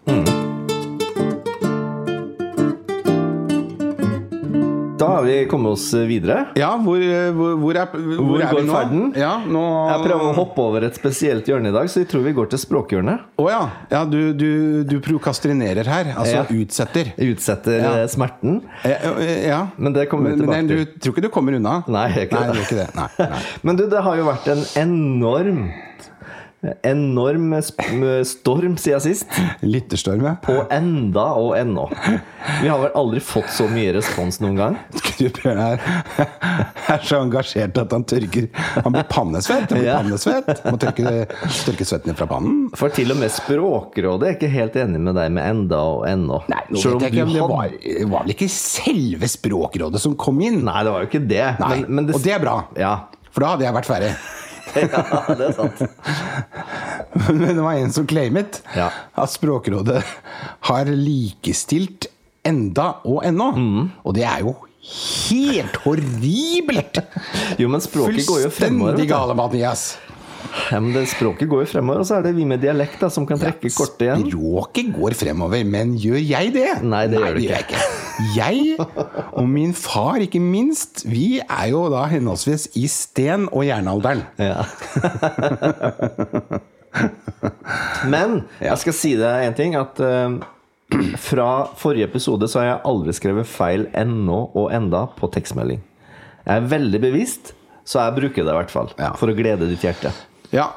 Da har vi kommet oss videre. Ja, hvor, hvor, hvor er, hvor Hvor er vi går nå? ferden? Ja, nå Jeg prøver å hoppe over et spesielt hjørne i dag, så jeg tror vi går til språkhjørnet. Å ja. ja du, du, du prokrastinerer her. Altså Ja. utsetter. Jeg utsetter Ja. eh, smerten. Ja, ja. Men det kommer vi men, tilbake men til. du tror ikke du kommer unna? Nei, jeg gjør ikke Nei, det. du gjør ikke det. Nei, nei. Men du, det har jo vært en enorm Enorm sp- storm siden sist. Lytterstorm, ja. Og enda og ennå. Vi har vel aldri fått så mye respons noen gang. Gud, Bjørn er, er så engasjert at han tørker Han blir pannesvett. Han blir Ja. pannesvett. Må tørke, tørke svetten fra pannen. For til og med Språkrådet er ikke helt enig med deg med enda og ennå. Nå Selv vet om jeg ikke om du det hadde- var, det var vel ikke selve Språkrådet som kom inn? Nei, det var jo ikke det. Nei, Men, men det... Og det er bra, Ja. for da hadde jeg vært ferdig. ja, det er sant. Men det var en som claimet Ja. at Språkrådet har likestilt enda og ennå. Mm. Og det er jo helt horribelt! Jo, men språket går jo Fullstendig fremover. vet du. gale, Mathias. Ja, men det, språket går jo fremover, og så er det vi med dialekt da, som kan trekke kortet igjen. Språket går fremover, men gjør jeg det? Nei, det gjør du jeg ikke. Jeg og min far, ikke minst, vi er jo da henholdsvis i sten- og jernalderen. Ja. Men jeg skal si deg en ting. At eh, fra forrige episode så har jeg aldri skrevet feil ennå og enda på tekstmelding. Jeg er veldig bevisst, så jeg bruker det i hvert fall. Ja. For å glede ditt hjerte. Ja,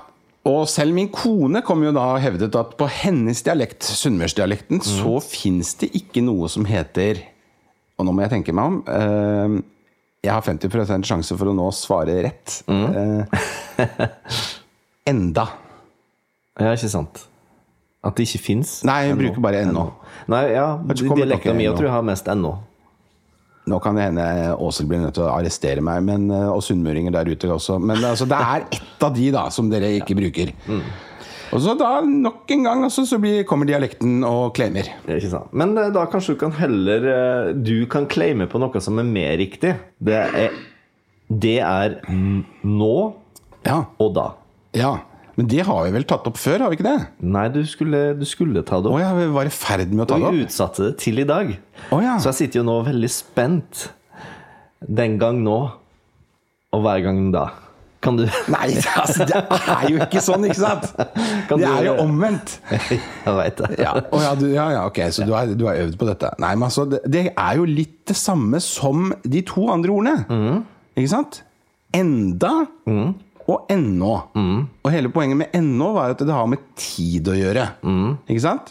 og selv min kone kom jo da og hevdet at på hennes dialekt, sunnmørsdialekten, så fins det ikke noe som heter Og nå må jeg tenke meg om. eh, jeg har 50 sjanse for å nå svare rett. Eh, enda. Ja, ikke sant? At det ikke fins? Nei, jeg bruker bare ennå. Nei, ja, ikke kommet dialekta dere mi jeg ennå. tror jeg har mest ennå. Nå kan det hende Åshild blir nødt til å arrestere meg, men, eh, og sunnmøringer der ute også. Men altså, det er ett av de da som dere ikke bruker. Og så da, nok en gang, altså, så blir, kommer dialekten og klemmer. Det er ikke sant. Men eh, da kanskje du kan heller eh, Du kan claime på noe som er mer riktig. Det er, det er n- nå Ja, og da. ja. Men det har vi vel tatt opp før, har vi ikke det? Nei, du skulle, du skulle ta det Å opp. ja, vi var i ferd med å ta Og det vi opp. utsatte det til i dag. Å ja. Så jeg sitter jo nå veldig spent. Den gang nå, og hver gang da. Kan du Nei, altså, det er jo ikke sånn, ikke sant? Kan det du- er jo omvendt. Jeg veit det. Ja, Å ja, du, ja, ja ok, så du har, du har øvd på dette. Nei, men altså, det, det er jo litt det samme som de to andre ordene. Ikke sant? Enda og ennå. Og hele poenget med ennå var at det har med tid å gjøre. Ikke sant?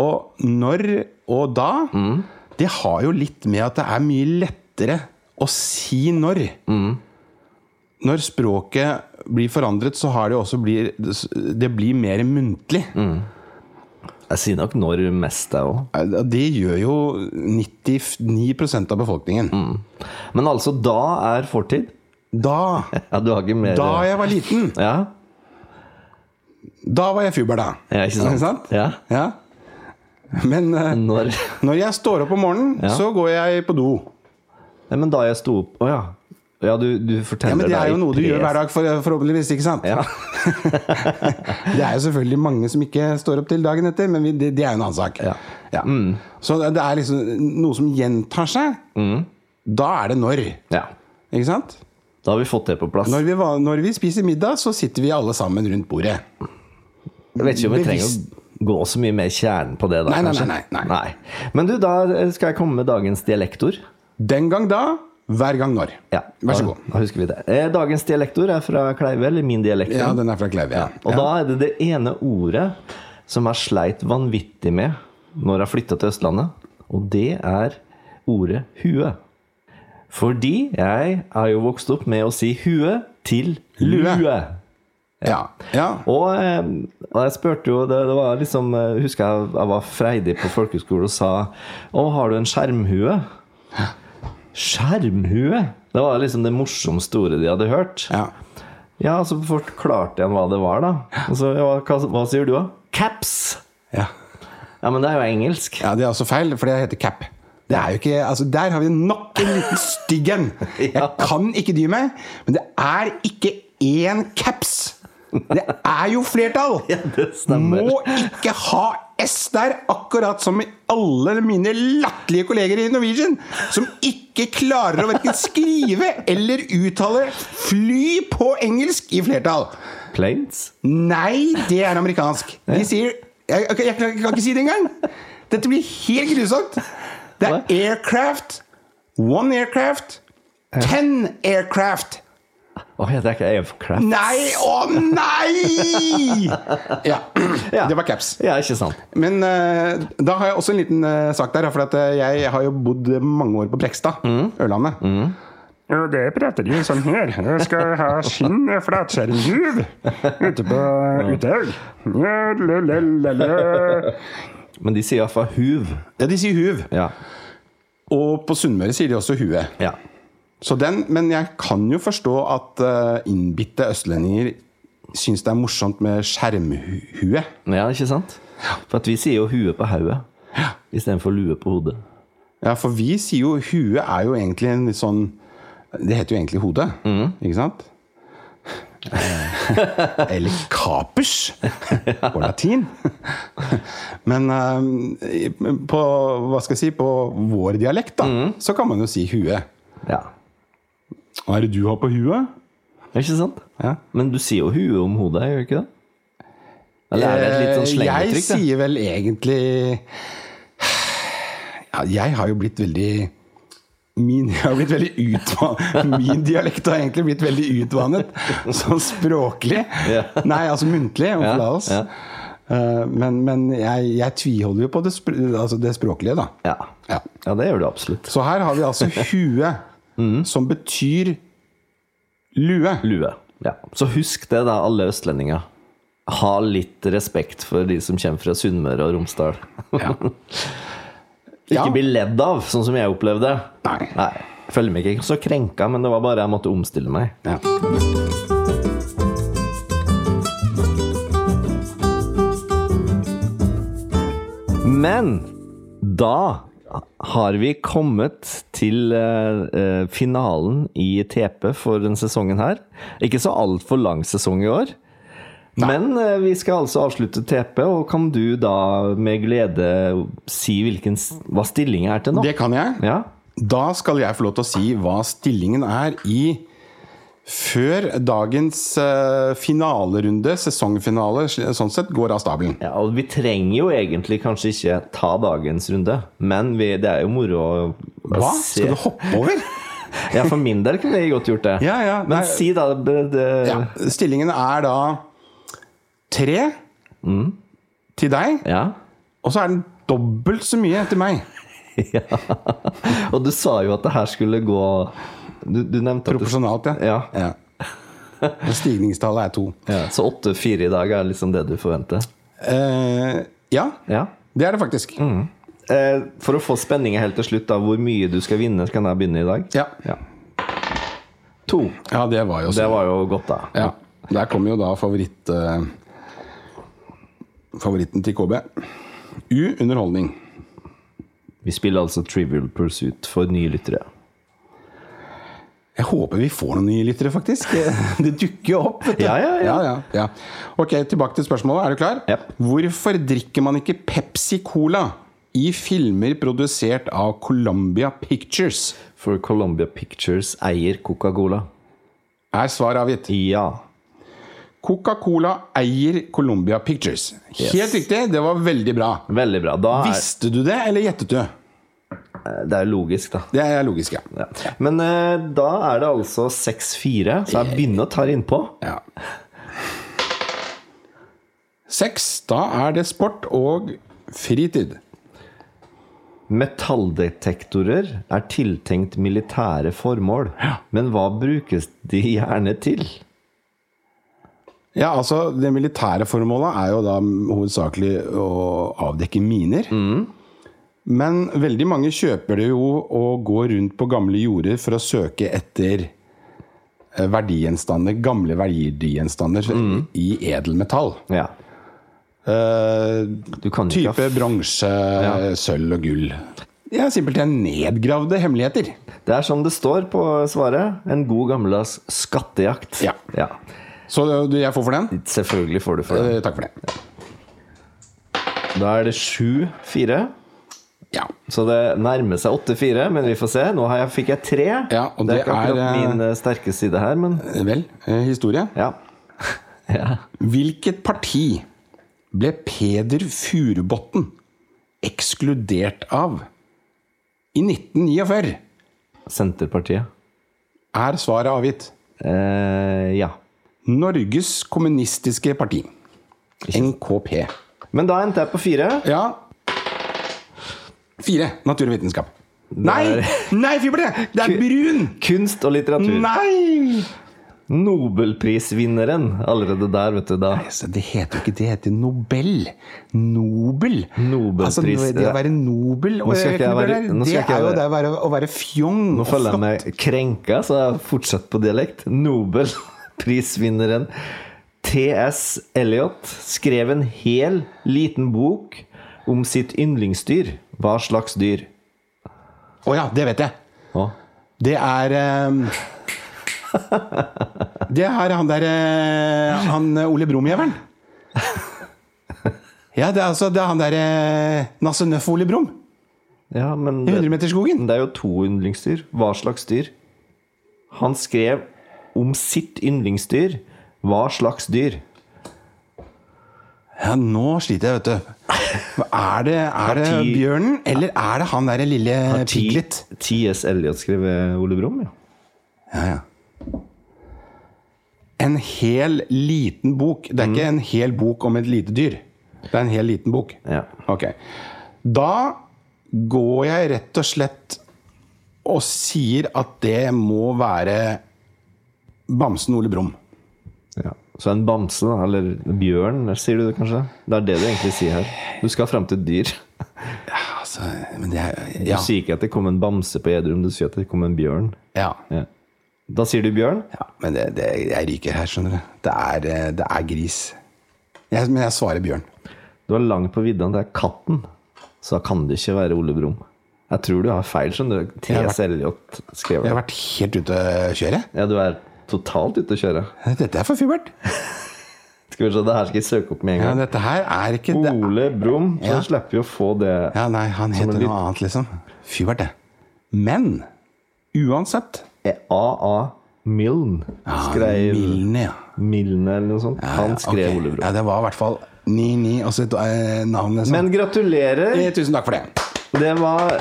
Og når og da, det har jo litt med at det er mye lettere å si når. Når språket blir forandret, så har det jo også blir, det blir mer muntlig. Jeg sier nok når mest, jeg òg. Ja, Det gjør jo 99 av befolkningen. Men altså, da er fortid. Da, Ja, du har ikke mer da jeg var liten, Ja, da var jeg fubber, da. ja ikke sant? Ikke sant? Ja. Ja. Men eh, Når når jeg står opp om morgenen, Ja. så går jeg på do. Nei, men da jeg sto opp Å ja. Ja, du, du Ja, forteller men det er jo noe du gjør hver dag, for, forhåpentligvis. ikke sant? Ja. Det er jo selvfølgelig mange som ikke står opp til dagen etter, men vi, det, det er jo en annen sak. Ja. Mm. Ja. Så det det er liksom noe som gjentar seg. Mm. Da er det når. ja. Ikke sant? Da har vi fått det på plass. Når vi, va- når vi spiser middag, så sitter vi alle sammen rundt bordet. Jeg vet ikke om vi trenger Bevisst. å gå så mye mer i kjernen på det. da Nei, nei, kanskje? nei, nei, nei. Men du, da eh, skal jeg komme med dagens dialektor. Den gang da, hver gang når. Ja, Vær så da- god. Da husker vi det. Eh, Dagens dialektor er fra Kleive, eller min dialekt. Ja, den er fra Kleive. Ja. Og da er det det ene ordet som jeg sleit vanvittig med når jeg flytta til Østlandet, og det er ordet hue. Fordi jeg er jo vokst opp med å si hue til lue. Lue. Ja. ja. Og, eh, og jeg spurte jo det, det var liksom, eh, husker jeg jeg var freidig på folkeskole og sa Å, har du en skjermhue? Skjermhue? Det var liksom det morsomste ordet de hadde hørt. ja. Ja, så forklarte jeg hva det var, da. Og så, ja, hva, hva sier du, da? Caps! ja. Ja, men det er jo engelsk. ja det er også feil, for det heter cap. Det er jo ikke, altså Der har vi nok en liten stygg en! Jeg kan ikke dy meg, men det er ikke én caps! Det er jo flertall! Ja, det stemmer. Må ikke ha S der, akkurat som i alle mine latterlige kolleger i Norwegian, som ikke klarer å hverken skrive eller uttale 'fly' på engelsk i flertall. Planes? Nei, det er amerikansk. De sier Jeg, jeg, jeg kan ikke si det engang! Dette blir helt grusomt. Det er aircraft. One aircraft. Ten aircraft. Å, heter det ikke aircraft? Nei! Å nei! Ja. Ja. Det var caps. Ja, ikke sant? Men eh, da har jeg også en liten eh, sak der. For at eh, jeg har jo bodd mange år på Brekstad, Ørlandet. Ja, det prater de sånn her. Jeg skal ha skinn flatskjermjuv ute på Uthaug. Ja, le, le, le, le. Men de sier iallfall huv. Ja, de sier huv. Ja. Og på Sunnmøre sier de også hue. ja. Så den, men jeg kan jo forstå at eh, innbitte østlendinger syns det er morsomt med skjermhue. Ja, ikke sant? For at vi sier jo hue på hodet istedenfor lue på hodet. Ja, for vi sier jo hue er jo egentlig en litt sånn Det heter jo egentlig hode, ikke sant? Eller kapers på latin. Men eh, på, hva skal jeg si, på vår dialekt, da, så kan man jo si hue. Ja. Hva er det du har på huet? Ikke sant? Ja. Men du sier jo hue om hodet, gjør du ikke det? Eller er det et litt sånn Eh, Jeg slengetrykk? det? sier vel egentlig ja, Jeg har jo blitt veldig Min, jeg har blitt veldig utvan- min dialekt har egentlig blitt veldig utvannet. Sånn språklig. Ja. Nei, altså muntlig. Om Ja, forlatelse. ja. Eh, Men, men jeg, jeg tviholder jo på det, spr altså det språklige, da. Ja. Ja. ja, det gjør du absolutt. Så her har vi altså hue, Mm. som betyr lue. Lue. Ja. Så husk det, da, alle østlendinger. Ha litt respekt for de som kommer fra Sunnmøre og Romsdal. Ja. Ikke bli ledd av, sånn som jeg opplevde. Nei. Nei. Føler meg ikke så krenka, men det var bare jeg måtte omstille meg. Ja. Men da har vi kommet til eh, eh, finalen i TP for denne sesongen her. Ikke så altfor lang sesong i år. Men eh, vi skal altså avslutte TP, og kan du da med glede si hvilken, s- hva stillingen er til nå? Det kan jeg. Ja? Da skal jeg få lov til å si hva stillingen er i før dagens eh, finalerunde, sesongfinale, sl- sånn sett, går av stabelen. ja, og vi trenger jo egentlig kanskje ikke ta dagens runde, men vi, det er jo moro å Hva? se- Skal du hoppe over? Ja, for min del kunne jeg godt gjort det. Ja, ja, men nei. si da det, det, Ja. Stillingen er da tre Mm. til deg, ja. og så er den dobbelt så mye til meg. Ja. Og du sa jo at det her skulle gå Du, du nevnte at det, Proporsjonalt, ja. ja. ja. Og Stigningstallet er to. ja. Så 8-4 i dag er liksom det du forventer? Eh, ja, Ja. det er det faktisk. Eh, for å få spenninga helt til slutt, da, hvor mye du skal vinne, kan jeg begynne i dag? Ja. To. ja, det var jo Det sånn. var jo godt, da. Ja. Der kommer jo da favoritt eh, Favoritten til KB. U underholdning. Vi spiller altså Trivial Pursuit for nye lyttere. Jeg håper vi får noen nye lyttere, faktisk. Det dukker jo opp. vet du. Ja, ja, ja. ja. Ok, Tilbake til spørsmålet. Er du klar? Jep. Hvorfor drikker man ikke Pepsi Cola i filmer produsert av Columbia Pictures? For Columbia Pictures eier Coca-Cola. Er svaret avgitt? Ja. Coca-Cola eier Columbia Pictures. Helt riktig, det var veldig bra. Veldig bra. Da er Visste du det, eller gjettet du? det er jo logisk, da. Det er logisk, ja. Ja. Men eh, da er det altså 6-4, så jeg begynner å ta det innpå. Ja. Seks. Da er det sport og fritid. Metalldetektorer er tiltenkt militære formål, men hva brukes de gjerne til? Ja, altså Det militære formålet er jo da hovedsakelig å avdekke miner. Men veldig mange kjøper det jo og går rundt på gamle jorder for å søke etter eh, verdigjenstander, gamle verdigjenstander i edelmetall. Ja. Eh, Du kan jo ikke type ha bronse, sølv og gull. Ja, simpelthen nedgravde hemmeligheter. Det er som det står på svaret. En god gammeldags skattejakt. Ja. Så øh, du, jeg får for den? Selvfølgelig får du for det. Eh, Takk for det. Da er det 7-4. Ja. Så det nærmer seg 8-4, men vi får se. Nå har jeg, fikk jeg 3. Ja, og det det er ikke akkurat er, eh, min eh, sterke side her, men Eh, Vel, eh, historie. ja. ja. Hvilket parti ble Peder Furubotn ekskludert av i 1949? Senterpartiet. Er svaret avgitt. Eh, ja. Norges Kommunistiske Parti. NKP. Men da endte jeg på 4. Ja. Fire. Natur og vitenskap. Nei! Nei, fibre! Det er brun! Kunst og litteratur. Nei! Nobelprisvinneren allerede der, vet du. Da. Så Altså, det heter jo ikke det. Det heter Nobel. Nobel. Nobelpris. Altså, det å være Nobel og Nå skal ikke jeg være- nå skal Det ikke jeg er jo være- det å være, å være fjong. Nå føler jeg meg krenka, så jeg fortsetter på dialekt. Nobelprisvinneren TS Elliot skrev en hel liten bok om sitt yndlingsdyr. Hva slags dyr? Å ja, det vet jeg. Å, Det er eh, Det er han der eh, Han eh, Ole Brumm-jævelen. Ja, det er altså det er han der eh, Nasse Nøff Ole Brumm ja, men i det, 100-meterskogen. det er jo to yndlingsdyr. Hva slags dyr? Han skrev om sitt yndlingsdyr. Hva slags dyr? Ja, nå sliter jeg, vet du. Er det, er det ti- bjørnen, eller er det han der lille piglet? TS Elliot skrev eh, Ole Brumm, ja. Ja, ja. En hel liten bok. Det er ikke Mm. en hel bok om et lite dyr. Det er en hel liten bok. Ja. Ok. Da går jeg rett og slett og sier at det må være Bamsen Ole Brumm. Ja. Så en bamse, da, eller bjørn, sier du det kanskje? Det er det du egentlig sier her. Du skal fram til et dyr. Altså, men det er Du ja, sier ikke at det kom en bamse på Edrum, du sier at det kom en bjørn. ja. Ja. Da sier du bjørn? ja. Men det, det, jeg ryker her, skjønner du. Det er, eh, det er gris. Jeg, men jeg svarer bjørn. Du er langt på viddene, det er katten. Så da kan det ikke være Ole Brumm. Jeg tror du har feil, skjønner du. har TS Elliot skrev Jeg det. har vært helt ute å kjøre. Ja, du er totalt ute å kjøre. Dette er for fibert. Skal vi se, det her skal jeg søke opp med en Ja, gang. dette her er ikke det. Ole Brumm, så Ja. slipper vi å få det Ja, nei, han heter en noe annet, liksom. Fyvert, det. Men uansett E AA Milne. Skrev Milne, ja. Milne eller noe sånt. Han skrev Ok. Ole Brumm. Ah, Ja, det var i hvert fall 99 og så et eh, navn, liksom. Men gratulerer. Eh, Tusen takk for det. Det var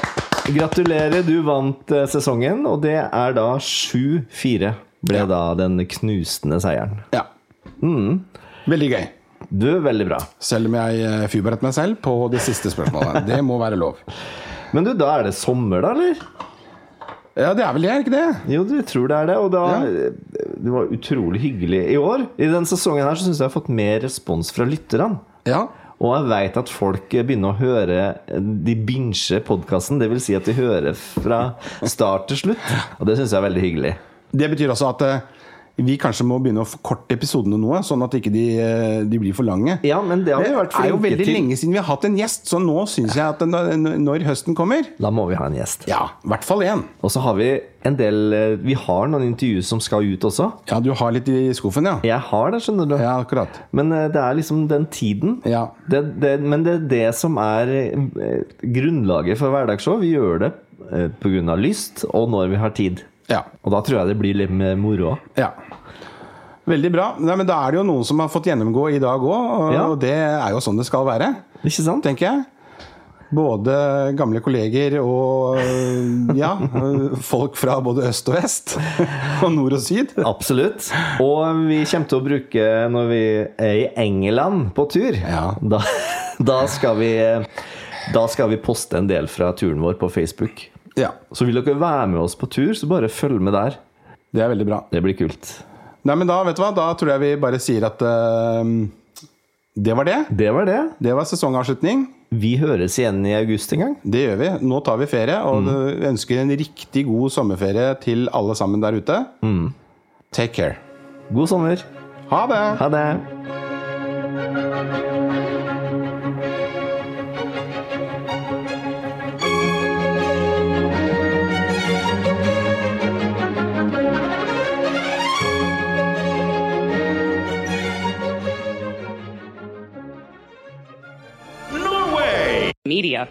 Gratulerer, du vant eh, sesongen, og det er da 7-4. Ble da den knusende seieren. Ja. Mm. Veldig gøy. Du, veldig bra. Selv om jeg eh, fyrberedte meg selv på det siste spørsmålet. Det må være lov. Men du, da er det sommer, da, eller? Ja, det er vel det, er det ikke det? Jo, du tror det er det. Og da Ja. eh, Det var utrolig hyggelig i år. I denne sesongen her så syns jeg jeg har fått mer respons fra lytterne. Ja. Og jeg veit at folk eh, begynner å høre eh, De binger podkasten. Det vil si at de hører fra start til slutt. Og det syns jeg er veldig hyggelig. Det betyr også at eh, vi kanskje må begynne å forkorte episodene noe, sånn at ikke de, eh, de blir for lange. Ja, men det har vi Det vært er jo flinke veldig til. lenge siden vi har hatt en gjest, så nå syns jeg at når, når høsten kommer Da må vi ha en gjest. Ja, i hvert fall én. Og så har vi en del eh, Vi har noen intervjuer som skal ut også. Ja, du har litt i skuffen, ja? Jeg har det, skjønner du. Ja, akkurat. Men eh, det er liksom den tiden. Ja. Det, det, men det er det som er eh, grunnlaget for hverdagsshow. Vi gjør det eh, på grunn av lyst, og når vi har tid. Ja. Og da tror jeg det blir litt mer moro. ja. Veldig bra. Nei, men da er det jo noen som har fått gjennomgå i dag òg, og, Ja. og det er jo sånn det skal være, Ikke sant? tenker jeg. Både gamle kolleger og øh, ja, øh, folk fra både øst og vest. Og nord og syd. Absolutt. Og vi kommer til å bruke når vi er i England på tur. Ja. Da, da, skal vi, eh, da skal vi poste en del fra turen vår på Facebook. Ja, Så vil dere være med oss på tur, så bare følg med der. det er veldig bra. Det blir kult. Nei, Nei, men da, vet du hva, da tror jeg vi bare sier at eh, det var det. Det var det. Det var sesongavslutning. Vi høres igjen i august en gang. Det gjør vi. Nå tar vi ferie, og vi ønsker en riktig god sommerferie til alle sammen der ute. Take care. God sommer. Ha det! Ha det. media.